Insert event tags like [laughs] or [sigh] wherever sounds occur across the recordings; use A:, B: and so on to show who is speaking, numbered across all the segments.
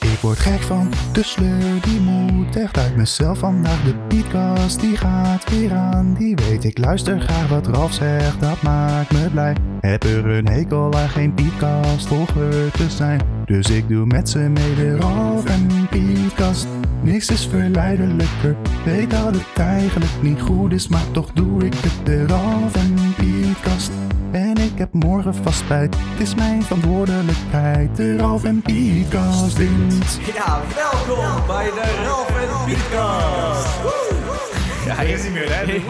A: Ik word gek van de sleur, die moet echt uit mezelf vandaag. De podcast die gaat weer aan, die weet ik luister graag wat Ralf zegt, dat maakt me blij. Heb er een hekel aan geen podcast volger te zijn, dus ik doe met ze mee de Ralf en Podcast. Niks is verleidelijker, weet dat het eigenlijk niet goed is, maar toch doe ik het de Ralf en Podcast. En ik heb morgen vast spijt, het is mijn verantwoordelijkheid, de Ralf en Podcast dient.
B: Ja, welkom bij de Ralf en Pietcast.
C: Ja, hij is niet meer, hè? Ik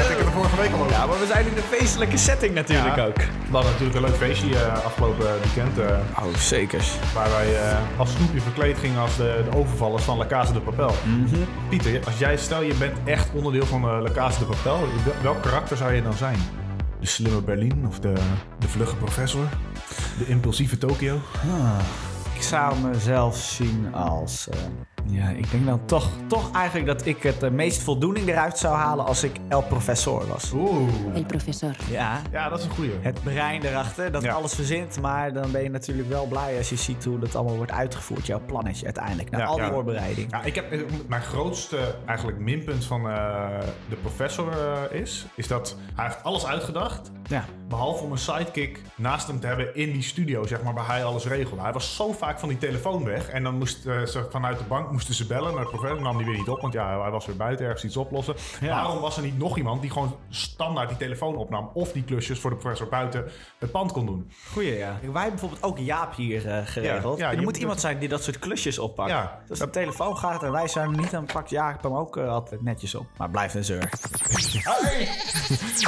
C: had ik het er vorige week al over.
B: Ja, maar we zijn in een feestelijke setting natuurlijk
C: Ja.
B: ook.
C: We hadden natuurlijk een leuk feestje eh, afgelopen weekend. eh,
B: Oh, zekers.
C: waar wij eh, als snoepje verkleed gingen als de, de overvallers van La Casa de Papel. Pieter, als jij stel je bent echt onderdeel van eh, La Casa de Papel, wel- welk karakter zou je dan zijn? De slimme Berlin of de, de vlugge professor? De impulsieve Tokio?
B: Ik zou mezelf zien als... eh, ja, ik denk dan toch, toch eigenlijk dat ik het eh, meest voldoening eruit zou halen als ik El Professor was.
C: Oeh.
D: El profesor.
B: Ja,
C: Ja, dat is een goeie.
B: het brein erachter, dat
C: Ja.
B: alles verzint. Maar dan ben je natuurlijk wel blij als je ziet hoe dat allemaal wordt uitgevoerd. Jouw plannetje uiteindelijk, na
C: Ja,
B: al die
C: ja.
B: voorbereiding.
C: Ja, ik heb, eh, mijn grootste eigenlijk minpunt van eh, de professor eh, is, is dat hij heeft alles uitgedacht,
B: Ja.
C: Behalve om een sidekick naast hem te hebben in die studio, zeg maar, waar hij alles regelde. Hij was zo vaak van die telefoon weg. En dan moest eh, ze vanuit de bank moesten ze bellen naar de professor. Nam die weer niet op, want ja, hij was weer buiten ergens iets oplossen. Waarom was er niet nog iemand die gewoon standaard die telefoon opnam? Of die klusjes voor de professor buiten het pand kon doen?
B: Goeie, ja. Wij hebben bijvoorbeeld ook Jaap hier eh, geregeld.
C: Ja, ja,
B: er
C: je
B: moet,
C: moet
B: iemand zijn die dat soort klusjes oppakt.
C: Ja.
B: Dus als de telefoon gaat en wij zijn er niet, dan pakt Jaap hem ook eh, altijd netjes op. Maar blijft een zeur.
C: [laughs]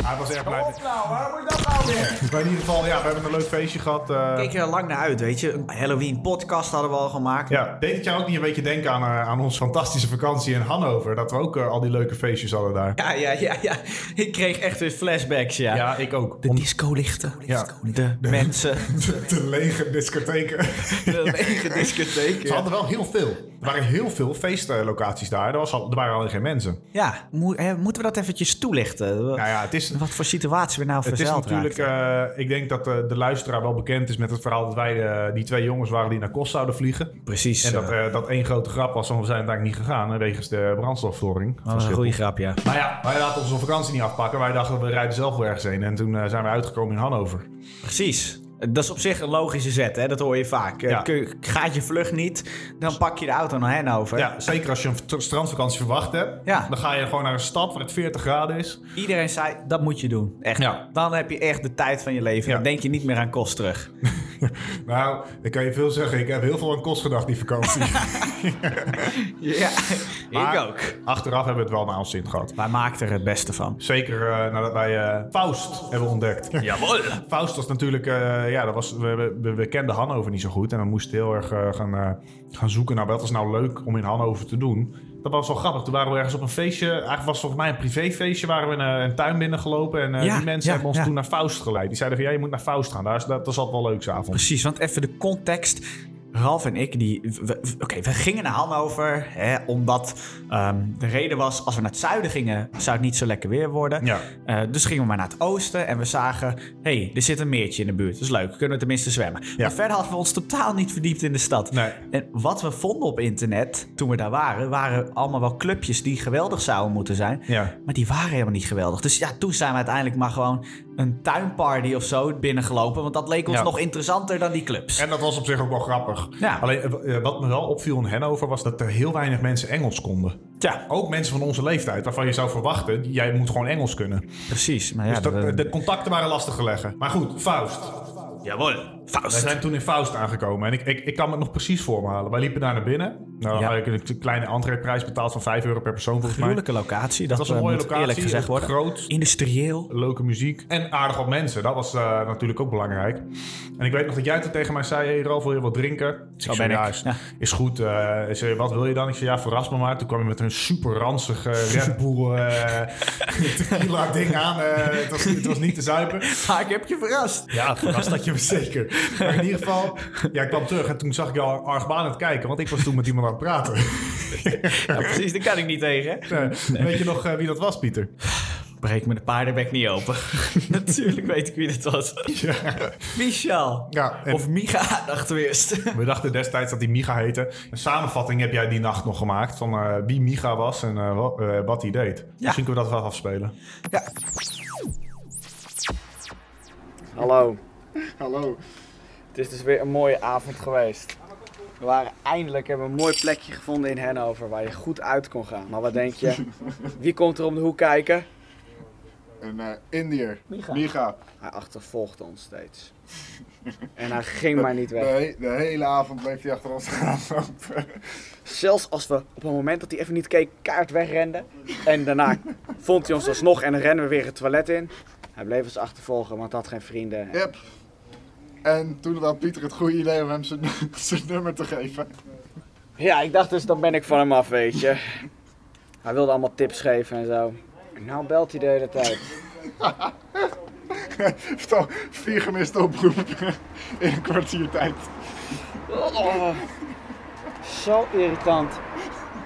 C: Hij was erg blij.
B: nou, waar moet dat nou weer?
C: Maar in ieder geval, ja, we hebben een leuk feestje gehad. eh,
B: Ik keek er lang naar uit, weet je. Een Halloween podcast hadden we al gemaakt.
C: ja, deed het jou ook niet een beetje denken aan, eh, aan onze fantastische vakantie in Hannover? Dat we ook eh, al die leuke feestjes hadden daar.
B: Ja, ja, ja, ja. Ik kreeg echt weer flashbacks, ja.
C: ik ook.
B: De discolichten. De, mensen.
C: [laughs] De lege discotheken.
B: De lege discotheek.
C: Ze
B: ja.
C: hadden wel heel veel. Er waren heel veel feestlocaties daar. Er, was al, er waren alleen geen mensen.
B: Ja, moe- hè, moeten we dat eventjes toelichten?
C: Nou ja, het is,
B: Wat voor situatie we nou
C: het is
B: verzeild
C: natuurlijk...
B: raakten.
C: eh, ik denk dat eh, de luisteraar wel bekend is met het verhaal... dat wij eh, die twee jongens waren die naar Kos zouden vliegen.
B: Precies.
C: En
B: eh,
C: dat, eh, dat één grote grap was, want we zijn uiteindelijk niet gegaan... eh, wegens de brandstofstoring.
B: dat was een goede grap, ja.
C: Maar ja, wij laten onze vakantie niet afpakken. Wij dachten, we rijden zelf wel ergens heen. En toen eh, zijn we uitgekomen in Hannover.
B: Precies. Dat is op zich een logische zet, hè? dat hoor je vaak. Eh,
C: Ja.
B: kun- Gaat je vlucht niet, dan pak je de auto naar Hannover.
C: Ja, zeker als je een st- strandvakantie verwacht hebt.
B: Ja.
C: Dan ga je gewoon naar een stad waar het 40 graden is.
B: Iedereen zei, dat moet je doen. Echt.
C: Ja.
B: Dan heb je echt de tijd van je leven.
C: Ja.
B: Dan denk je niet meer aan kost
C: [laughs]
B: terug.
C: Nou, ik kan je veel zeggen. Ik heb heel veel aan kost gedacht die vakantie.
B: Ja,
C: Maar
B: ik ook.
C: Achteraf hebben we het wel naar ons zin gehad.
B: Wij maakten er het beste van.
C: Zeker eh, nadat wij eh, Faust hebben ontdekt.
B: Jawel.
C: Faust was natuurlijk, eh, ja, dat was, we, we, we kenden Hannover niet zo goed. En dan moesten we heel erg eh, gaan, eh, gaan zoeken naar wat is nou leuk om in Hannover te doen. Dat was wel grappig. Toen waren we ergens op een feestje. Eigenlijk was het volgens mij een privéfeestje. Waren we in eh, een tuin binnengelopen. En eh,
B: Ja,
C: die mensen
B: ja,
C: hebben ons
B: ja.
C: toen naar Faust geleid. Die zeiden van ja, je moet naar Faust gaan. Daar is, dat, dat is altijd wel leuk s'avonds.
B: Precies, want even de context. Ralf en ik, die. we- we- Oké, we gingen naar Hannover. Hè, omdat ehm, de reden was, als we naar het zuiden gingen, zou het niet zo lekker weer worden.
C: Ja.
B: Eh, dus gingen we maar naar het oosten en we zagen, hé, hey, er zit een meertje in de buurt. Dat is leuk, kunnen we tenminste zwemmen. Maar verder hadden we ons totaal niet verdiept in de stad.
C: Nee.
B: En wat we vonden op internet toen we daar waren, waren allemaal wel clubjes die geweldig zouden moeten zijn.
C: Ja.
B: Maar die waren helemaal niet geweldig. Dus ja, toen zijn we uiteindelijk maar gewoon een tuinparty of zo binnengelopen. Want dat leek ons
C: Ja.
B: nog interessanter dan die clubs.
C: En dat was op zich ook wel grappig.
B: Ja.
C: Alleen eh, eh, wat me wel opviel in Hannover was dat er heel weinig mensen Engels konden.
B: Ja,
C: Ook mensen van onze leeftijd, waarvan je zou verwachten, jij moet gewoon Engels kunnen.
B: precies. Maar ja,
C: dus dat,
B: dat- eh,
C: de contacten waren lastig te leggen. Maar goed, Faust.
B: Jawohl,
C: We
B: Faust.
C: zijn toen in Faust aangekomen en ik, ik, ik kan me het nog precies voor me halen. Wij liepen daar naar binnen. Nou, dan
B: Ja.
C: had ik een kleine entreeprijs betaald van 5 euro per persoon volgens mij.
B: Gruwelijke locatie. Dat
C: was een
B: eh,
C: mooie
B: moet
C: locatie,
B: eerlijk gezegd worden.
C: groot.
B: Industrieel.
C: Leuke muziek en aardig wat mensen. Dat was eh, natuurlijk ook belangrijk. En ik weet nog dat jij toen tegen mij zei: Hey Ralf, wil je wat drinken?
B: Zo ben
C: ja,
B: ik.
C: Is,
B: Ja.
C: is goed. eh, ik zei, wat wil je dan? Ik zei: Ja, verras me maar. Toen kwam je met een super
B: [laughs]
C: ranzig eh, Red Bull eh, [laughs] tequila ding aan. Eh, het, was, het was niet te zuipen.
B: Maar ik heb je verrast.
C: Ja, verrast dat je me zeker. Maar in ieder geval, ja, ik kwam terug en toen zag ik jou argwaan aan het kijken, want ik was toen met iemand aan het praten.
B: Ja, precies, daar kan ik niet tegen. hè? [laughs]
C: Eh, Weet je nog eh, wie dat was, Pieter?
B: breek me de paardenbek niet open. [laughs] Natuurlijk weet ik wie dit was. Michel.
C: Ja, en-
B: Of Micha, dachten we eerst.
C: We dachten destijds dat die Micha heette. Een samenvatting heb jij die nacht nog gemaakt van eh, wie Micha was en eh, wa- eh, wat hij deed. Misschien kunnen we dat wel afspelen.
B: ja.
D: Hallo,
E: Hallo.
D: het is dus weer een mooie avond geweest. We waren eindelijk hebben we een mooi plekje gevonden in Hannover waar je goed uit kon gaan. Maar wat denk je? Wie komt er om de hoek kijken?
E: Een eh, Indiër.
D: Micha.
E: Micha.
D: Hij achtervolgde ons steeds. En hij ging maar niet
E: De,
D: weg.
E: he- de hele avond bleef hij achter ons [laughs] aanlopen.
D: Zelfs als we op het moment dat hij even niet keek, kaart wegrenden. En daarna vond hij ons alsnog en rennen we weer het toilet in. Hij bleef ons achtervolgen, want hij had geen vrienden.
E: Yep. En toen had Pieter het goede idee om hem zijn, [laughs] zijn nummer te geven.
D: Ja, ik dacht dus, dan ben ik van hem af, weet je. Hij wilde allemaal tips geven en zo. En nou belt hij de hele tijd.
E: Heeft al vier gemiste oproepen [laughs] in een kwartier tijd.
D: Oh, zo irritant.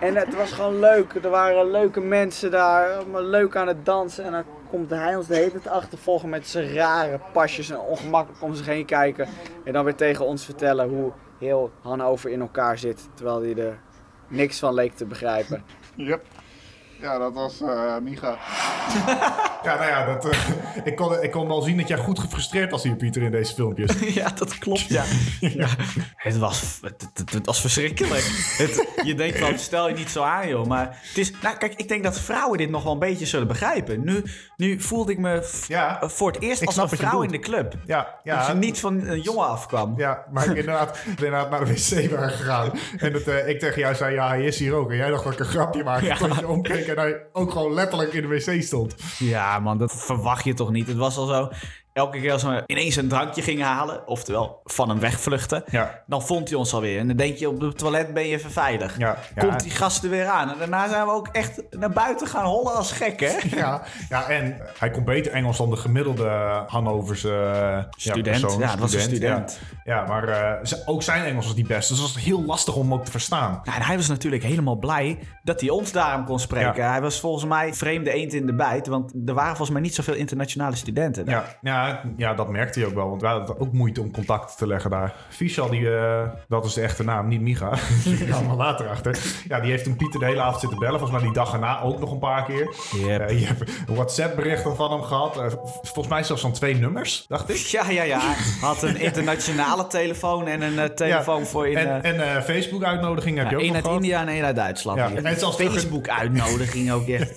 D: En het was gewoon leuk. Er waren leuke mensen daar. allemaal Leuk aan het dansen. En dan komt hij ons de hele tijd achtervolgen met zijn rare pasjes. En ongemakkelijk om zich heen kijken. En dan weer tegen ons vertellen hoe heel Hannover in elkaar zit. Terwijl hij er niks van leek te begrijpen.
E: Yep. Ja, dat was eh Micha.
C: Ja, nou ja, dat, eh, [laughs] ik, kon, ik kon wel zien dat jij goed gefrustreerd was hier, Pieter, in deze filmpjes.
B: [laughs] ja, dat klopt,
C: [laughs]
B: ja. ja. Het, was, het, het- het was verschrikkelijk. Het, je denkt van, stel je niet zo aan, joh. Maar het is... Nou, kijk, ik denk dat vrouwen dit nog wel een beetje zullen begrijpen. Nu, nu voelde ik me v-
C: Ja.
B: voor het eerst
C: Ik
B: als
C: snap
B: een
C: wat je
B: vrouw in de
C: bedoelt.
B: club.
C: [laughs] Ja,
B: Dat
C: ja.
B: je niet van een jongen afkwam.
C: Ja, maar ik inderdaad, [laughs] inderdaad naar de wc waren gegaan. En dat, eh, ik tegen jou zei, ja, hij is hier ook. En jij dacht dat ik een grapje maakte.
B: Ja.
C: Tot je omkeek en hij ook gewoon letterlijk in de wc stond.
B: Ja, man, dat verwacht je toch niet? Het was al zo. Elke keer als we ineens een drankje gingen halen, oftewel van hem wegvluchten,
C: Ja.
B: dan vond hij ons alweer. En dan denk je, op het toilet ben je even veilig.
C: Ja, ja.
B: Komt die gast er weer aan. En daarna zijn we ook echt naar buiten gaan hollen als gekken.
C: [laughs] Ja, ja, en hij kon beter Engels dan de gemiddelde Hannoverse eh,
B: Student.
C: persoon,
B: Ja, het was een student.
C: Ja, Ja, maar eh, z- ook zijn Engels was niet best. Dus het was heel lastig om hem ook te verstaan.
B: Nou, en hij was natuurlijk helemaal blij dat hij ons daarom kon spreken. Hij was volgens mij vreemde eend in de bijt, want er waren volgens mij niet zoveel internationale studenten. daar.
C: Ja, ja, ja, dat merkte hij ook wel. Want wij hadden ook moeite om contact te leggen daar. Fischal, die, eh, dat is de echte naam, niet Micha. [laughs] Die kwam er later achter. Ja, die heeft hem Pieter de hele avond zitten bellen. Volgens mij die dag erna ook nog een paar keer.
B: Yep.
C: Eh, je hebt WhatsApp-berichten van hem gehad. Eh, v- volgens mij zelfs van twee nummers, dacht ik.
B: Ja, ja, ja. Hij Had een internationale telefoon en een eh, telefoon
C: Ja.
B: voor in...
C: En,
B: eh,
C: en eh, Facebook-uitnodiging heb
B: Ja,
C: je
B: Nou,
C: ook
B: één
C: nog
B: uit
C: gehad.
B: India en één uit Duitsland.
C: Ja,
B: Ja,
C: en zelfs terug in-
B: Facebook-uitnodiging ook echt.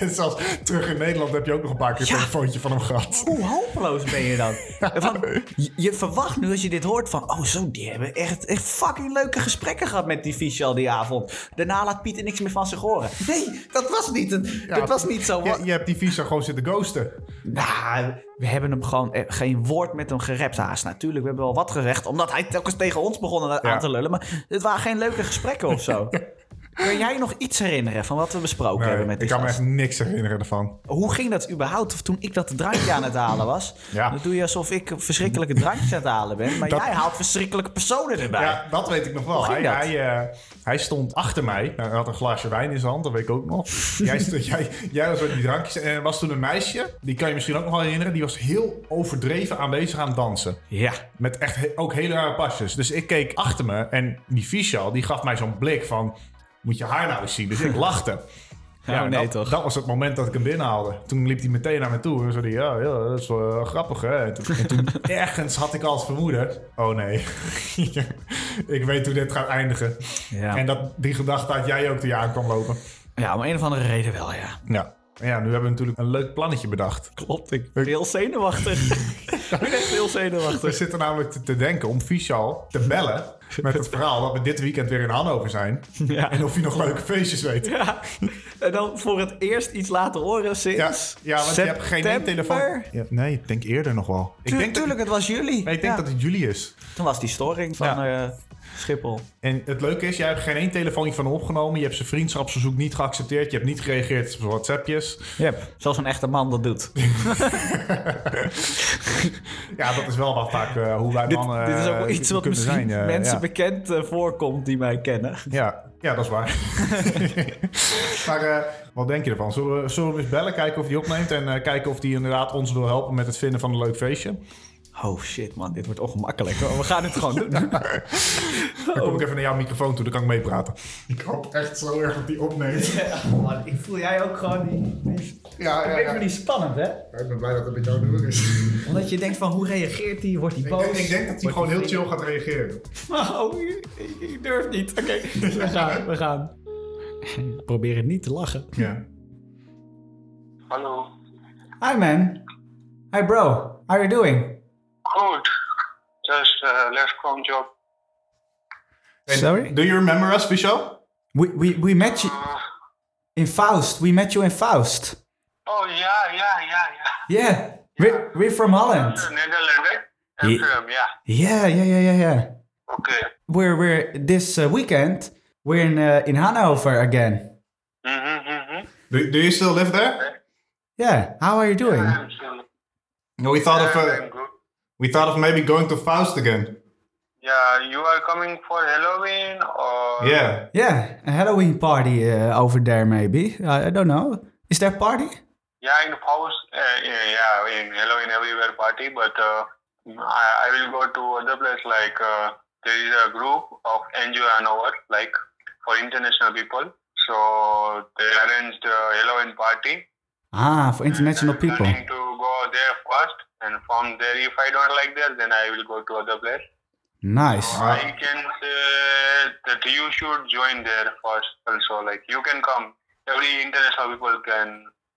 C: En zelfs terug in Nederland heb je ook nog een paar keer
B: Ja.
C: een telefoontje van hem
B: [laughs]
C: gehad.
B: Hoe hopeloos ben je dan? Van, je, je verwacht nu als je dit hoort van... Oh zo, die hebben echt, echt fucking leuke gesprekken gehad met die Fischel die avond. Daarna laat Pieter niks meer van zich horen. Nee, dat was niet, het,
C: Ja.
B: dat was niet zo.
C: Je, je hebt die visa gewoon zitten ghosten.
B: Nou, we hebben hem gewoon eh, geen woord met hem gerept haast. Natuurlijk, we hebben wel wat gezegd. Omdat hij telkens tegen ons begon aan
C: Ja.
B: aan te lullen. Maar het waren geen leuke gesprekken of
C: [laughs]
B: zo. Kun jij nog iets herinneren van wat we besproken hebben met
C: ik
B: die
C: kan me
B: gast?
C: echt niks herinneren ervan.
B: Hoe ging dat überhaupt toen ik dat drankje aan het halen was?
C: Ja.
B: Dan doe je alsof ik verschrikkelijke drankjes aan het halen ben. Maar
C: Dat-
B: jij haalt verschrikkelijke personen erbij.
C: Ja, dat weet ik nog wel.
B: ging
C: Hij,
B: dat?
C: hij, eh, hij stond achter mij. Hij had een glaasje wijn in zijn hand, dat weet ik ook
B: [laughs]
C: nog. jij, stond- jij, jij was met die drankjes. En er was toen een meisje, die kan je misschien ook nog wel herinneren. Die was heel overdreven aanwezig aan het dansen.
B: Ja.
C: Met echt he- ook hele rare pasjes. Dus ik keek achter me en die Fischal die gaf mij zo'n blik van... Moet je haar nou eens zien? Dus ik
B: [laughs]
C: lachte.
B: Oh,
C: en
B: nee,
C: dat,
B: toch?
C: dat was het moment dat ik hem binnenhaalde. Toen liep hij meteen naar me toe. En zei hij, ja, ja, dat is wel eh, grappig, hè? En toen,
B: [laughs]
C: en toen ergens had ik al het vermoeden... Oh, nee. [laughs] ik weet hoe dit gaat eindigen.
B: Ja.
C: En dat, die gedachte had jij ook die aan kwam lopen.
B: ja, om een of andere reden wel, ja.
C: Ja. Ja, nu hebben we natuurlijk een leuk plannetje bedacht.
B: Klopt, ik ben heel
C: [laughs]
B: zenuwachtig. ik ben echt heel
C: We
B: zenuwachtig.
C: zitten namelijk te, te denken om Fischal te
B: [laughs]
C: bellen met het verhaal dat we dit weekend weer in Hannover zijn.
B: Ja.
C: En of hij nog leuke feestjes weet. Ja,
B: Ja. En dan voor het eerst iets laten horen
C: ja,
B: sinds
C: want je hebt geen één
B: september.
C: telefoon. Ja, nee, ik denk eerder nog wel. Ik
B: Tu-
C: denk, dat,
B: tuurlijk, het was jullie.
C: nee, ik
B: Ja.
C: denk dat het juli is.
B: Toen was die storing van...
C: Ja.
B: eh, Schiphol.
C: En het leuke is, jij hebt geen één telefoontje van hem opgenomen. Je hebt zijn vriendschapsverzoek niet geaccepteerd. Je hebt niet gereageerd op zijn WhatsAppjes.
B: Yep. Zoals een echte man dat doet.
C: Ja, dat is wel wat vaak eh, hoe wij
B: dit,
C: mannen
B: dit is ook wel
C: eh,
B: iets wat
C: kunnen
B: misschien
C: zijn, eh,
B: mensen
C: ja.
B: bekend eh, voorkomt die mij kennen.
C: Ja, ja, dat is waar. [laughs] maar eh, wat denk je ervan? Zullen we, zullen we eens bellen, kijken of hij opneemt en eh, kijken of hij inderdaad ons wil helpen met het vinden van een leuk feestje?
B: Oh shit man, dit wordt ongemakkelijk. hoor. We gaan dit gewoon doen.
C: Dan kom ik even naar jouw microfoon toe, dan kan ik meepraten.
E: Ik hoop echt zo erg dat die opneemt. Ja,
D: ik voel jij ook gewoon die...
E: ja, ja.
D: niet spannend, hè?
E: Ik ben blij dat het met jou door is.
D: Omdat je denkt van, hoe reageert hij? Wordt hij
E: Ik denk, ik
C: [laughs]
E: denk dat hij gewoon heel chill gaat reageren.
B: Oh, ik, ik durf niet. Oké, we gaan. We gaan. Probeer het niet te lachen.
E: Ja.
F: Hallo.
B: Hi man. Hi bro. How are you doing?
F: Goed. Just uh, left from job.
B: Sorry?
C: Do you remember us, Michel?
B: We, we, we met you
E: Ah.
B: in Faust. We met you in Faust.
F: Oh ja, ja, ja, ja.
B: Yeah. We're, we're from Holland.
F: Nederland, hè? Amsterdam, ja.
B: Yeah, yeah, yeah, yeah, yeah.
F: Oké.
B: We're, we're this uh, weekend. We're in, uh, in Hanover again.
F: Mhm, mhm.
C: Do, do you still live there?
B: Yeah. How are you doing?
F: Amsterdam.
C: No, we thought of
F: Yeah,
C: uh,
F: I'm good.
C: we thought of maybe going to Faust again.
F: Yeah, you are coming for Halloween or...
C: Yeah.
B: Yeah. A Halloween party uh, over there maybe. I, I don't know. Is there a party?
F: Yeah, in house, uh, yeah, yeah, in Halloween everywhere party, but uh, I, I will go to other place like uh, there is a group of NGO Hanover, like for international people. So they arranged a Halloween party.
B: Ah, for international
F: I'm
B: people.
F: planning to go there first, and from there, if I don't like that, then I will go to other place.
B: Nice.
F: I can say that you should join there first. Also, like you can come. Every international people can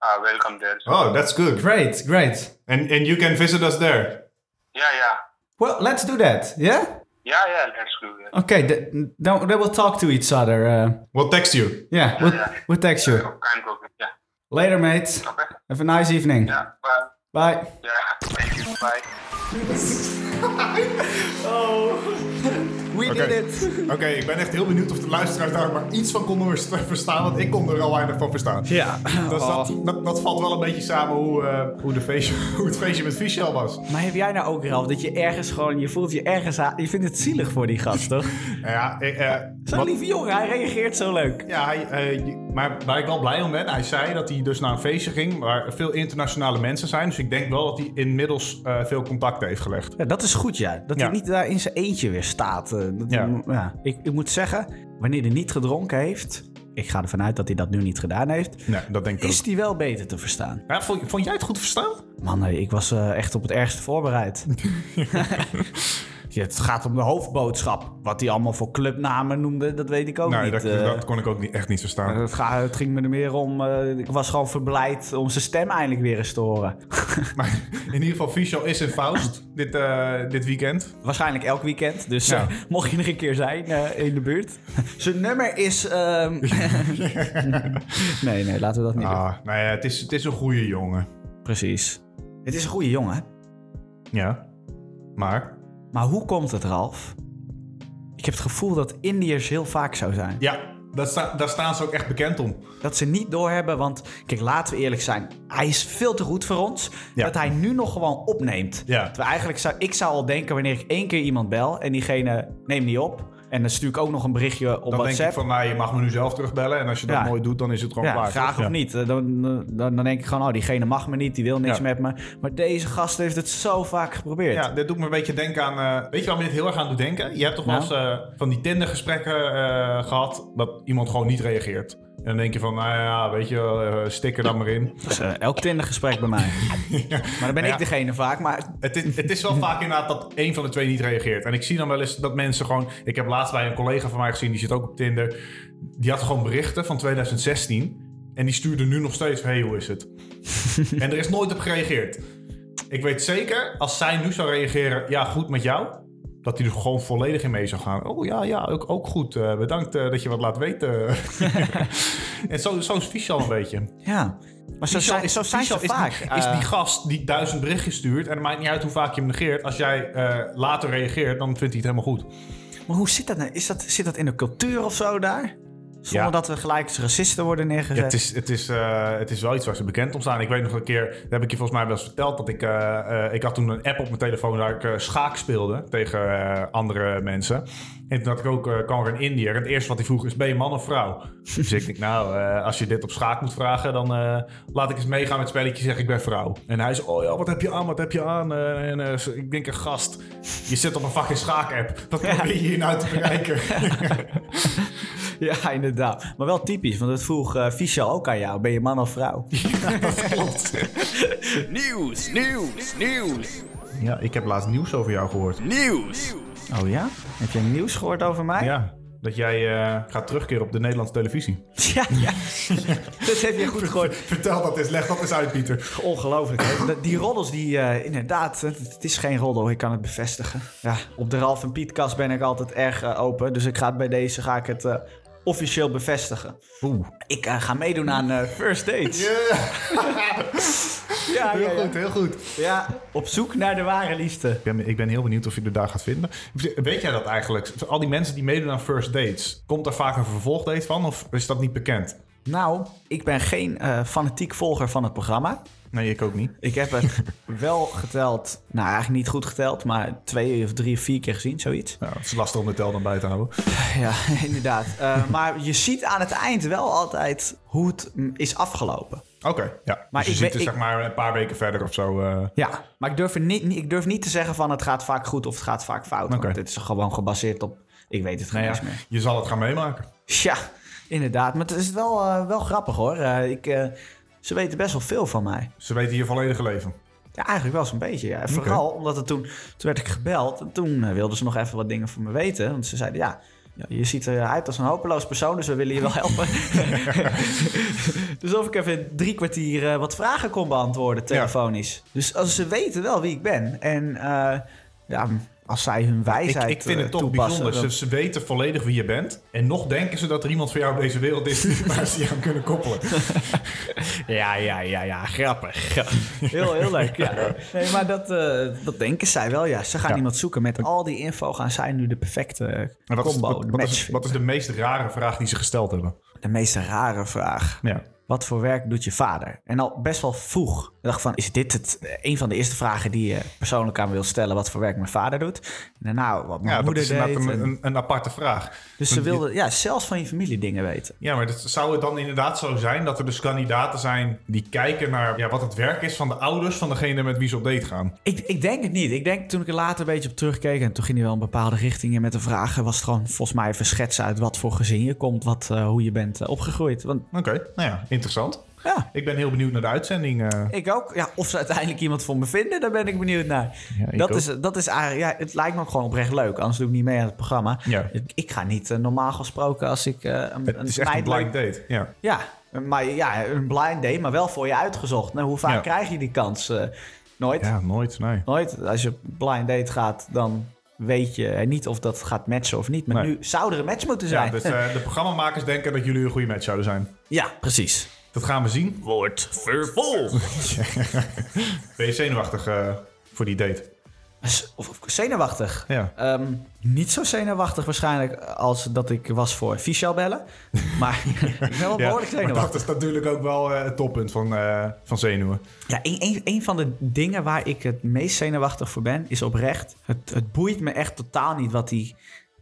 F: uh, welcome there. So,
C: Oh, that's good.
B: Great, great.
C: And and you can visit us there.
F: yeah, yeah.
B: Well, let's do that. Yeah.
F: Yeah, yeah, let's do that.
B: Okay. Th- then, then we'll talk to each other. Uh,
C: We'll text you.
B: yeah. We'll, we'll text you
F: Kind problem. Yeah.
B: later, mate. Have a nice evening.
F: Yeah. Bye.
B: Bye.
F: Yeah. Thank you. Bye.
B: We
C: Oké.
B: did it.
C: Oké, ik ben echt heel benieuwd of de luisteraars daar maar iets van konden vers- verstaan, want ik kon er al weinig van verstaan.
B: Ja.
C: Dus dat, dat, dat valt wel een beetje samen hoe, eh, hoe, de feestje, [laughs] hoe het feestje met Michel was.
B: Maar heb jij nou ook Ralf dat je ergens gewoon je voelt je ergens aan- je vindt het zielig voor die gast toch?
C: Ja, ik, eh,
B: Zo'n
C: wat-
B: lieve jongen, hij reageert zo leuk.
C: Ja, hij, eh, je- maar waar ik wel blij om ben, hij zei dat hij dus naar een feestje ging waar veel internationale mensen zijn. Dus ik denk wel dat hij inmiddels eh, veel contacten heeft gelegd.
B: Ja, dat is goed ja. Dat
C: Ja.
B: hij niet daar in zijn eentje weer staat. eh, dat-
C: Ja.
B: ja. Ik, ik moet zeggen, wanneer hij niet gedronken heeft, ik ga ervan uit dat hij dat nu niet gedaan heeft,
C: Nee, dat denk ik
B: is
C: ook.
B: hij wel beter te verstaan.
C: Ja, vond, vond jij het goed verstaan?
B: Man, nee, ik was eh, echt op het ergste voorbereid. [laughs] Ja, het gaat om de hoofdboodschap. Wat hij allemaal voor clubnamen noemde, dat weet ik ook
C: nee,
B: niet.
C: dat,
B: eh.
C: dat kon ik ook niet, echt niet verstaan.
B: het, ga- het ging me er meer om. eh, ik was gewoon verblijd om zijn stem eindelijk weer eens te horen.
C: Maar in ieder geval, Fischel is in Faust dit, eh, dit weekend.
B: Waarschijnlijk elk weekend. Dus
C: Ja.
B: eh, mocht je er een keer zijn eh, in de buurt. zijn nummer is.
C: [laughs]
B: ehm, nee, nee, laten we dat niet doen.
C: Ah, nou ja, het is, het is een goede jongen.
B: Precies. Het is een goede jongen.
C: Ja. Maar?
B: Maar hoe komt het, Ralf? Ik heb het gevoel dat Indiërs heel vaak zo zijn.
C: Ja, daar, sta- daar staan ze ook echt bekend om.
B: Dat ze niet doorhebben, want kijk, laten we eerlijk zijn. Hij is veel te goed voor ons.
C: Ja.
B: Dat hij nu nog gewoon opneemt.
C: Ja.
B: Terwijl eigenlijk zou, ik zou al denken, wanneer ik één keer iemand bel en diegene neemt niet op. En dan stuur ik ook nog een berichtje op
C: Dan denk ik
B: WhatsApp.
C: van, nou, je mag me nu zelf terugbellen. En als je dat
B: Ja.
C: nooit doet, dan is het gewoon
B: ja,
C: klaar.
B: graag
C: toch?
B: of
C: Ja.
B: niet. Eh, Dan, dan, dan denk ik gewoon, oh, diegene mag me niet, die wil niks
C: Ja.
B: met me. Maar deze gast heeft het zo vaak geprobeerd.
C: Ja, dit doet me een beetje denken aan... eh, weet je waar me dit heel erg aan doet denken? Je hebt toch wel eens
B: Nou?
C: eh, van die Tinder-gesprekken eh, gehad... dat iemand gewoon niet reageert. En dan denk je van, nou ja, weet je, eh stik er dan maar in.
B: Dat is, eh, elk Tinder-gesprek bij mij. Maar dan ben
C: [laughs] Ja.
B: ik degene vaak. Maar
C: Het is, het is wel vaak inderdaad dat één van de twee niet reageert. En ik zie dan wel eens dat mensen gewoon... Ik heb laatst bij een collega van mij gezien, die zit ook op Tinder. Die had gewoon berichten van 2016. En die stuurde nu nog steeds, hey, hoe is het? en er is nooit op gereageerd. Ik weet zeker, als zij nu zou reageren, ja, goed met jou. Dat hij er gewoon volledig in mee zou gaan. Oh ja, ja, ook, ook goed. Eh, bedankt eh, dat je wat laat weten. [laughs] en zo, zo is Fischal een beetje.
B: ja, maar zo,
C: Fischel
B: zijn, zo zijn ze
C: Fischel
B: vaak.
C: Is die,
B: Eh,
C: is die gast die duizend berichtjes stuurt. En het maakt niet uit hoe vaak je hem negeert. Als jij eh, later reageert, dan vindt hij het helemaal goed.
B: Maar hoe zit dat nou? Is dat, zit dat in de cultuur of zo daar? Zonder
C: Ja.
B: dat we gelijk als racisten worden neergezet.
C: Ja, het, is, het, is, eh, het is wel iets waar ze bekend om staan. Ik weet nog een keer, dat heb ik je volgens mij wel eens verteld, dat ik, eh, eh, ik had toen een app op mijn telefoon waar ik eh, schaak speelde tegen eh, andere mensen. En toen had ik ook, eh kwam er een Indiër en het eerste wat hij vroeg is, ben je man of vrouw? Dus ik denk, nou, eh, als je dit op schaak moet vragen, dan eh, laat ik eens meegaan met het spelletje, zeg ik ben vrouw. En hij is, oh ja, wat heb je aan, wat heb je aan? Eh, en, eh, ik denk, een gast, je zit op een fucking schaak-app. Wat probeer je hier nou te bereiken?
B: [laughs] Ja, inderdaad. Maar wel typisch, want dat vroeg eh Fischel ook aan jou. Ben je man of vrouw?
G: Nieuws, nieuws, nieuws,
C: [laughs] ja, ik heb laatst nieuws over jou gehoord.
G: nieuws.
B: Oh ja? Heb je nieuws gehoord over mij?
C: Ja, dat jij eh, gaat terugkeren op de Nederlandse televisie.
B: [laughs] Ja, ja. [laughs] dat heb je goed gehoord.
C: [laughs] Vertel dat eens, leg dat eens uit, Pieter.
B: Ongelooflijk. hè? Dat- Die roddels, die eh, inderdaad, het, het is geen roddel, ik kan het bevestigen. Ja, op de Ralf en Pietkast ben ik altijd erg eh, open, dus ik ga het bij deze ga ik het eh, officieel bevestigen. Oeh. Ik eh, ga meedoen aan eh, First Dates. [laughs] ja, ja,
C: Heel
B: ja.
C: goed, heel goed.
B: ja, op zoek naar de ware liefde.
C: Ik ben, ik ben heel benieuwd of je er daar gaat vinden. Weet jij dat eigenlijk? Al die mensen die meedoen aan first dates, komt daar vaak een vervolgdate van of is dat niet bekend?
B: Nou, ik ben geen eh, fanatiek volger van het programma.
C: Nee, ik ook niet.
B: Ik heb het wel geteld, nou eigenlijk niet goed geteld, maar twee of drie of vier keer gezien, zoiets.
C: Nou, het is lastig om de tel dan bij te houden.
B: Ja, [laughs] inderdaad. Eh, maar je ziet aan het eind wel altijd hoe het mm, is afgelopen.
C: Oké, ja.
B: Maar
C: Maar dus
B: ik
C: je
B: weet-
C: ziet
B: ik-
C: het zeg maar een paar weken verder of zo. eh,
B: Ja, maar ik durf, er niet, niet- ik durf niet te zeggen van het gaat vaak goed of het gaat vaak fout.
C: Oké.
B: Want het is gewoon gebaseerd op, ik weet het geen
C: nou
B: eens
C: ja,
B: meer.
C: je zal het gaan meemaken.
B: Ja, inderdaad. Maar het is wel, eh, wel grappig hoor. Eh, ik, eh, ze weten best wel veel van mij.
C: Ze weten je volledige leven.
B: Ja, eigenlijk wel zo'n beetje. Ja. En Vooral omdat het toen, toen werd ik gebeld. En toen eh, wilden ze nog even wat dingen van me weten. Want ze zeiden, ja, ja, je ziet eruit als een hopeloos persoon, dus we willen je wel
C: [laughs]
B: helpen. [laughs] dus of ik even drie kwartier eh, wat vragen kon beantwoorden, telefonisch. Dus als ze weten wel wie ik ben. En eh, ja, als zij hun
C: Ik,
B: wijsheid
C: ik vind
B: eh,
C: het toch
B: toepassen,
C: bijzonder. dus- Ze,
B: dan-
C: ze weten volledig wie je bent. En nog denken ze dat er iemand voor jou op deze wereld is [laughs] waar ze je aan kunnen koppelen.
B: [laughs] Ja, ja, ja, ja, grappig. Heel, heel leuk,
C: [laughs]
B: ja. Nee, maar dat, eh, dat denken zij wel, ja. Ze gaan
C: Ja.
B: iemand zoeken. Met al die info gaan zij nu de perfecte eh,
C: Maar wat, is,
B: combo,
C: wat,
B: de
C: wat
B: match
C: is,
B: vinden.
C: wat is de meest rare vraag die ze gesteld hebben?
B: De meest rare vraag.
C: Ja.
B: Wat voor werk doet je vader? En al best wel vroeg Ik dacht van, is dit het, eh, een van de eerste vragen die je persoonlijk aan me wil stellen? Wat voor werk mijn vader doet? En daarna wat mijn
C: Ja, dat
B: moeder
C: is
B: deed.
C: inderdaad een,
B: en-
C: een, een aparte vraag.
B: dus ze wilden ja, zelfs van je familie dingen weten.
C: Ja, maar dat, zou het dan inderdaad zo zijn dat er dus kandidaten zijn die kijken naar ja, wat het werk is van de ouders van degene met wie ze op date gaan?
B: Ik, ik denk het niet. Ik denk toen ik er later een beetje op terugkeek... en toen ging hij wel een bepaalde richting in met de vragen... was het gewoon volgens mij even schetsen uit wat voor gezin je komt... Wat, eh, hoe je bent eh, opgegroeid. Want
C: Oké, nou ja, interessant.
B: ja,
C: Ik ben heel benieuwd naar de uitzending. eh.
B: ik ook. Ja, of ze uiteindelijk iemand voor me vinden, daar ben ik benieuwd naar.
C: Ja, ik
B: dat,
C: ook.
B: is, dat is eigenlijk, ja, het lijkt me ook gewoon oprecht leuk. Anders doe ik niet mee aan het programma.
C: Ja.
B: Ik, ik ga niet eh, normaal gesproken als ik eh, een,
C: het is echt
B: meid
C: een blind
B: leuk-
C: date. Ja.
B: Ja, maar ja, een blind date, maar wel voor je uitgezocht. Nou, hoe vaak
C: Ja.
B: krijg je die kans? Eh, nooit.
C: ja, nooit, nee.
B: Nooit. Als je op blind date gaat, dan weet je eh, niet of dat gaat matchen of niet. Maar
C: Nee.
B: nu zou er een match moeten zijn.
C: Ja, dus eh, de programmamakers denken dat jullie een goede match zouden zijn.
B: Ja, precies.
C: Dat gaan we zien.
G: Wordt
B: [laughs]
G: vervolgd.
C: Ben je zenuwachtig eh, voor die date?
B: S- Of, of zenuwachtig.
C: Ja.
B: Ehm, niet zo zenuwachtig waarschijnlijk als dat ik was voor Fischel
C: [laughs]
B: bellen. Maar ik ben wel behoorlijk
C: maar dat
B: zenuwachtig.
C: is natuurlijk ook wel eh, het toppunt van, eh, van zenuwen.
B: Ja, een, een, een van de dingen waar ik het meest zenuwachtig voor ben, is oprecht. Het, het boeit me echt totaal niet wat die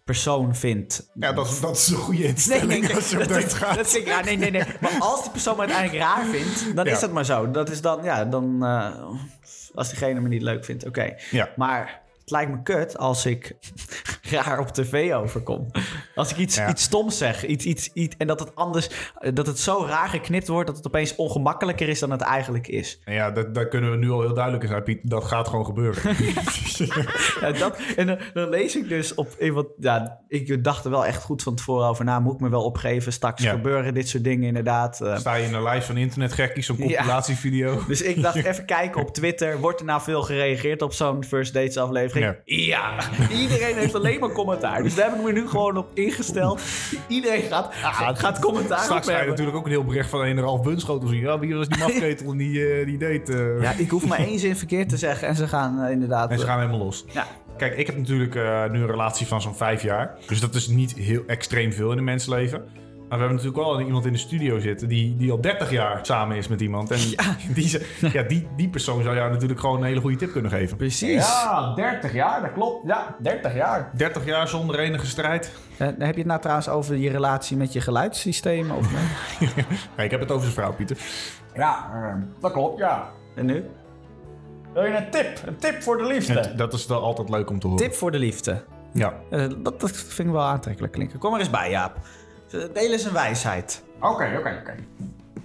B: persoon vindt.
C: Ja, dat, dat is een goede
B: Nee,
C: instelling
B: nee, nee,
C: als je op
B: dat,
C: date
B: is-
C: gaat.
B: dat is ik raar. Nee, nee, nee. Maar als die persoon me uiteindelijk raar vindt, dan
C: Ja.
B: is dat maar zo. Dat is dan, ja, dan eh, als diegene me niet leuk vindt, oké.
C: Ja.
B: Maar het lijkt me kut als ik [laughs] raar op tv overkom. Als ik iets,
C: Ja.
B: iets stoms zeg, iets, iets, iets, en dat het anders, dat het zo raar geknipt wordt dat het opeens ongemakkelijker is dan het eigenlijk is.
C: Nou Ja, dat, daar kunnen we nu al heel duidelijk in zijn, Piet. Dat gaat gewoon
B: [laughs]
C: gebeuren.
B: Ja, dat, en dan, dan lees ik dus op. eh, Want, ja, ik dacht er wel echt goed van tevoren over na. Moet ik me wel opgeven? Straks
C: Ja.
B: gebeuren dit soort dingen inderdaad. eh.
C: Sta je in een lijst van internetgekkies, zo'n
B: Ja.
C: compilatievideo.
B: dus ik [laughs] dacht even kijken op Twitter. Wordt er nou veel gereageerd op zo'n First Dates aflevering?
C: Ja.
B: Ja. Iedereen heeft alleen maar commentaar. Dus daar heb ik me nu gewoon op ingesteld. Iedereen gaat, gaat commentaar op
C: Straks ga je
B: hebben.
C: natuurlijk ook een heel bericht van een en half bunschotel zien. Ja, wie was
B: [laughs]
C: die mafketel die, eh, die deed? eh.
B: Ja, ik hoef maar één zin verkeerd te zeggen. En ze gaan eh, inderdaad...
C: En ze gaan helemaal los.
B: Ja, oké.
C: Kijk, ik heb natuurlijk eh, nu een relatie van zo'n vijf jaar. Dus dat is niet heel extreem veel in een mensenleven. Maar we hebben natuurlijk wel iemand in de studio zitten die, die al 30 jaar samen is met iemand. En [laughs] die, ze- ja, die, die persoon zou jou natuurlijk gewoon een hele goede tip kunnen geven.
B: Precies.
H: Ja, 30 jaar, dat klopt. Ja, 30 jaar.
C: 30 jaar zonder enige strijd. [laughs]
B: Eh, heb je het nou trouwens over je relatie met je geluidssysteem? Of...
C: Ja, ik heb het over zijn vrouw, Pieter.
H: Ja, ehm, dat klopt, ja.
B: en nu?
H: Wil je een tip? Een tip voor de liefde.
C: Dat is wel altijd leuk om te horen.
B: Tip voor de liefde.
C: Ja.
B: Eh, dat, dat vind ik wel aantrekkelijk klinken. Kom er eens bij, Jaap. Deel eens een wijsheid.
H: Oké, oké, oké.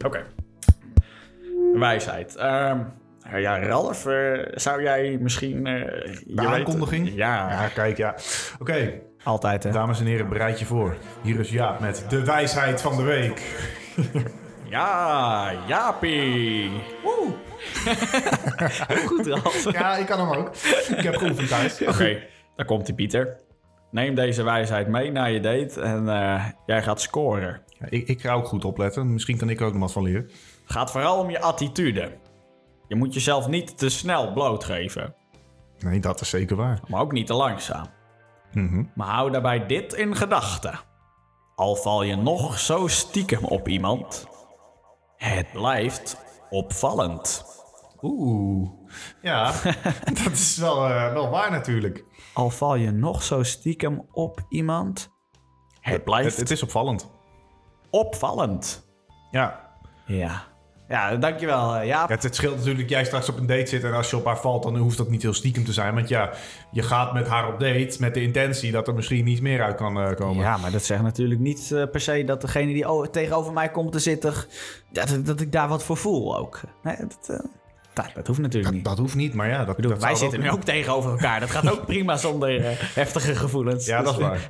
B: Oké. Wijsheid. Ehm, nou ja, Ralf, eh, zou jij misschien... eh, je weet-
C: aankondiging?
B: ja,
C: Ja, kijk, ja. Oké,
B: altijd hè.
C: dames en heren, bereid je voor. Hier is Jaap met de wijsheid van de week.
B: Ja, Jaapie. Woe. [laughs] Goed, Ralf.
C: Ja, ik kan hem ook. Ik heb geoefend thuis.
B: Oké, daar komt die Pieter. Neem deze wijsheid mee naar je date en eh, jij gaat scoren.
C: Ja, ik, ik ga ook goed opletten. Misschien kan ik er ook nog wat van leren.
B: gaat vooral om je attitude. Je moet jezelf niet te snel blootgeven,
C: Nee, dat is zeker waar.
B: maar ook niet te langzaam.
C: Mhm.
B: Maar hou daarbij dit in gedachten. Al val je nog zo stiekem op iemand, het blijft opvallend.
C: Oeh. Ja, [laughs] dat is wel, eh, wel waar natuurlijk.
B: Al val je nog zo stiekem op iemand, het
C: Het,
B: blijft
C: het is opvallend.
B: opvallend.
C: Ja.
B: Ja. Ja, dankjewel eh, Jaap.
C: Het, het scheelt natuurlijk dat jij straks op een date zit en als je op haar valt, dan hoeft dat niet heel stiekem te zijn. Want ja, je gaat met haar op date met de intentie dat er misschien niet meer uit kan eh, komen.
B: Ja, maar dat zegt natuurlijk niet eh, per se dat degene die o- tegenover mij komt te zitten, dat, dat ik daar wat voor voel ook. Nee, dat, eh, dat, dat hoeft natuurlijk
C: Dat,
B: niet.
C: dat hoeft niet, maar ja, dat,
B: Ik bedoel,
C: dat
B: wij
C: zou
B: zitten nu ook tegenover elkaar. Dat gaat ook prima zonder eh, heftige gevoelens.
C: [laughs] Ja, dat is
B: Dus,
C: waar.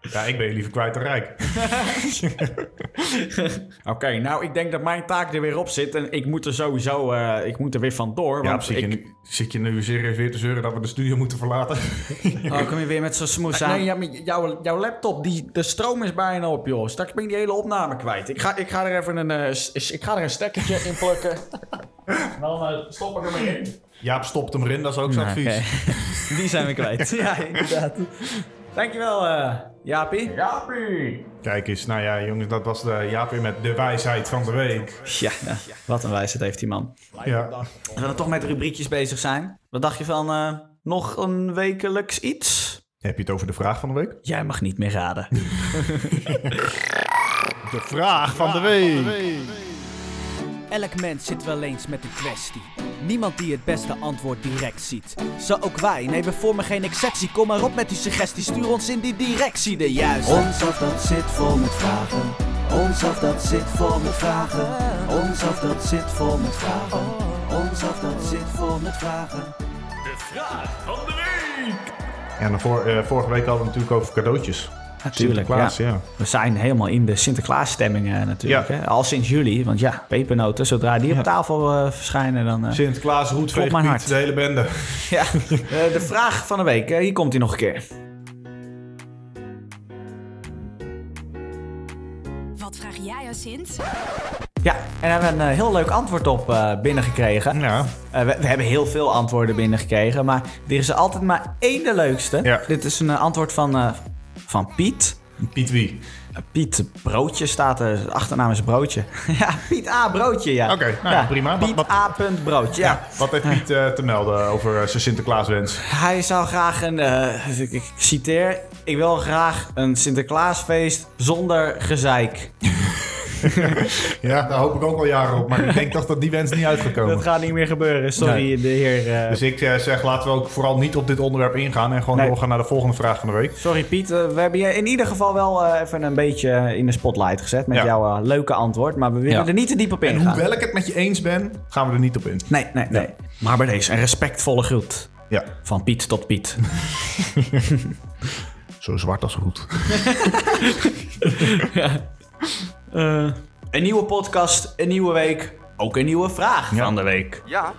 C: Ja, ik ben je liever kwijt dan rijk.
B: [laughs] Oké, nou, ik denk dat mijn taak er weer op zit. En ik moet er sowieso eh, ik moet er weer vandoor.
C: Ja,
B: want
C: zit,
B: ik...
C: je nu, zit je nu serieus weer te zeuren dat we de studio moeten verlaten? [laughs]
B: Oh, kom je weer met zo'n smoes aan? Nee, ja, maar jouw, jouw laptop, die, de stroom is bijna op, joh. Straks ben ik die hele opname kwijt. Ik ga, ik ga er even een, eh, s- ik ga er een stekkertje in plukken. Dan stop ik hem in.
C: Jaap stopt hem erin, dat is ook zijn advies.
B: [laughs] Die zijn we kwijt. [laughs] ja, inderdaad. Dankjewel, eh Jaapie.
H: Jaapie!
C: Kijk eens, nou ja jongens, dat was de Jaap weer met de wijsheid van de week.
B: Ja, wat een wijsheid heeft die man.
C: Ja.
B: Als we dan toch met rubriekjes bezig zijn, wat dacht je van eh, nog een wekelijks iets?
C: Heb je het over de vraag van de week?
B: Jij mag niet meer raden.
C: De vraag van de week.
I: Elk mens zit wel eens met een kwestie. Niemand die het beste antwoord direct ziet. Zo ook wij, nee we vormen geen exceptie. Kom maar op met die suggestie, stuur ons in die directie de juiste. Ons af dat zit vol met vragen. Ons af dat zit vol met vragen. Ons af dat zit vol met vragen. Ons af dat zit vol met vragen.
C: En dan voor, eh, vorige week hadden we het natuurlijk over cadeautjes.
B: Natuurlijk,
C: Sinterklaas,
B: ja.
C: ja.
B: We zijn helemaal in de Sinterklaasstemmingen natuurlijk.
C: Ja.
B: Hè? Al sinds juli, want ja, pepernoten, zodra die op tafel eh, verschijnen dan... eh,
C: Sinterklaas,
B: Klopt
C: Roetveeg,
B: mijn hart.
C: Piet, de hele bende.
B: ja. [laughs] Eh, de vraag van de week, eh, hier komt hij nog een keer.
J: Wat vraag jij aan Sint?
B: Ja, en daar hebben we een eh, heel leuk antwoord op eh, binnengekregen.
C: Ja,
B: Eh, we, we hebben heel veel antwoorden binnengekregen, maar er is altijd maar één de leukste.
C: Ja.
B: Dit is een eh, antwoord van, eh, van Piet. Eh,
C: Piet wie?
B: Piet Broodje staat er. Zijn Achternaam is Broodje. [laughs] ja, Piet A. Broodje, ja.
C: Oké, nou ja, prima. Wat-
B: Piet
C: wat-
B: A. punt Broodje, ja.
C: Wat heeft Piet eh, te melden over eh, zijn Sinterklaaswens?
B: Hij zou graag een... eh, ik, ik citeer. Ik wil graag een Sinterklaasfeest zonder gezeik.
C: Ja, daar hoop ik ook al jaren op, maar ik denk toch dat die wens niet uitgekomen.
B: Dat gaat niet meer gebeuren. Sorry, de heer... eh,
C: Oh. Dus ik eh, zeg, laten we ook vooral niet op dit onderwerp ingaan en gewoon
B: Nee.
C: doorgaan naar de volgende vraag van de week.
B: Sorry Piet, eh, we hebben je in ieder geval wel eh, even een beetje eh, in de spotlight gezet met
C: Ja.
B: jouw eh, leuke antwoord. Maar we willen
H: Ja.
B: er niet te diep op ingaan.
C: Hoewel ik het met je eens ben, gaan we er niet op in.
B: Nee, nee, nee. Maar bij deze, een respectvolle groet.
C: Ja,
B: Van Piet tot Piet.
C: zo zwart als goed.
B: Eh, [laughs] een nieuwe podcast, een nieuwe week, ook een nieuwe vraag van de week.
K: Ja,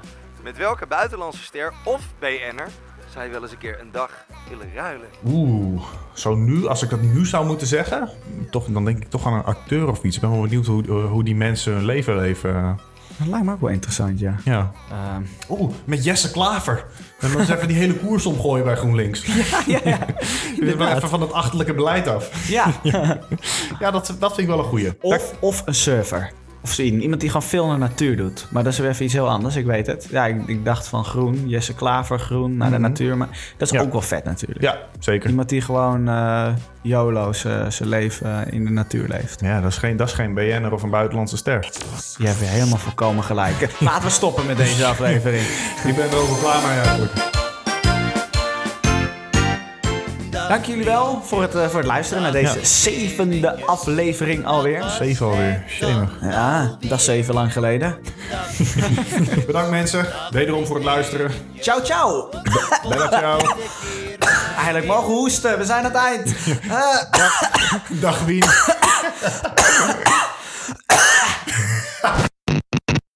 K: met welke buitenlandse ster of BN'er zou je wel eens een keer een dag willen ruilen?
C: Oeh, zo nu, als ik dat nu zou moeten zeggen, eh, toch, dan denk ik toch aan een acteur of iets. Ik ben wel benieuwd hoe, hoe die mensen hun leven leven.
B: Dat lijkt me ook wel interessant, ja.
C: Ja.
B: Ehm, [laughs]
C: Oeh, met Jesse Klaver. En dan eens even die hele koers omgooien bij GroenLinks. Ja, ja,
B: inderdaad.
C: even van het achterlijke beleid af.
B: [laughs] Ja.
C: ja, dat, dat vind ik wel een goeie.
B: Of, of een surfer. Of zo iemand. Iemand die gewoon veel naar natuur doet. Maar dat is weer even iets heel anders, ik weet het. Ja, ik, ik dacht van groen, Jesse Klaver, groen, naar
C: Mhm.
B: de natuur. Maar dat is ook wel vet natuurlijk.
C: Ja, zeker.
B: Iemand die gewoon eh YOLO zijn zijn leven eh, in de natuur leeft.
C: Ja, dat is geen, dat is geen BN'er of een buitenlandse ster.
B: Je hebt weer helemaal volkomen gelijk. [laughs] Laten we stoppen met deze aflevering.
C: Ik ben er over klaar mee eigenlijk.
B: Dank jullie wel voor het, eh, voor het luisteren naar deze
C: Ja.
B: zevende aflevering alweer.
C: Zeven alweer, shemig.
B: Ja, dat is even lang geleden.
C: Bedankt mensen, wederom voor het luisteren.
B: Ciao, ciao!
C: Dag jou.
B: [laughs] Eigenlijk mogen hoesten, we zijn aan het eind. Eh,
C: Dag Wien.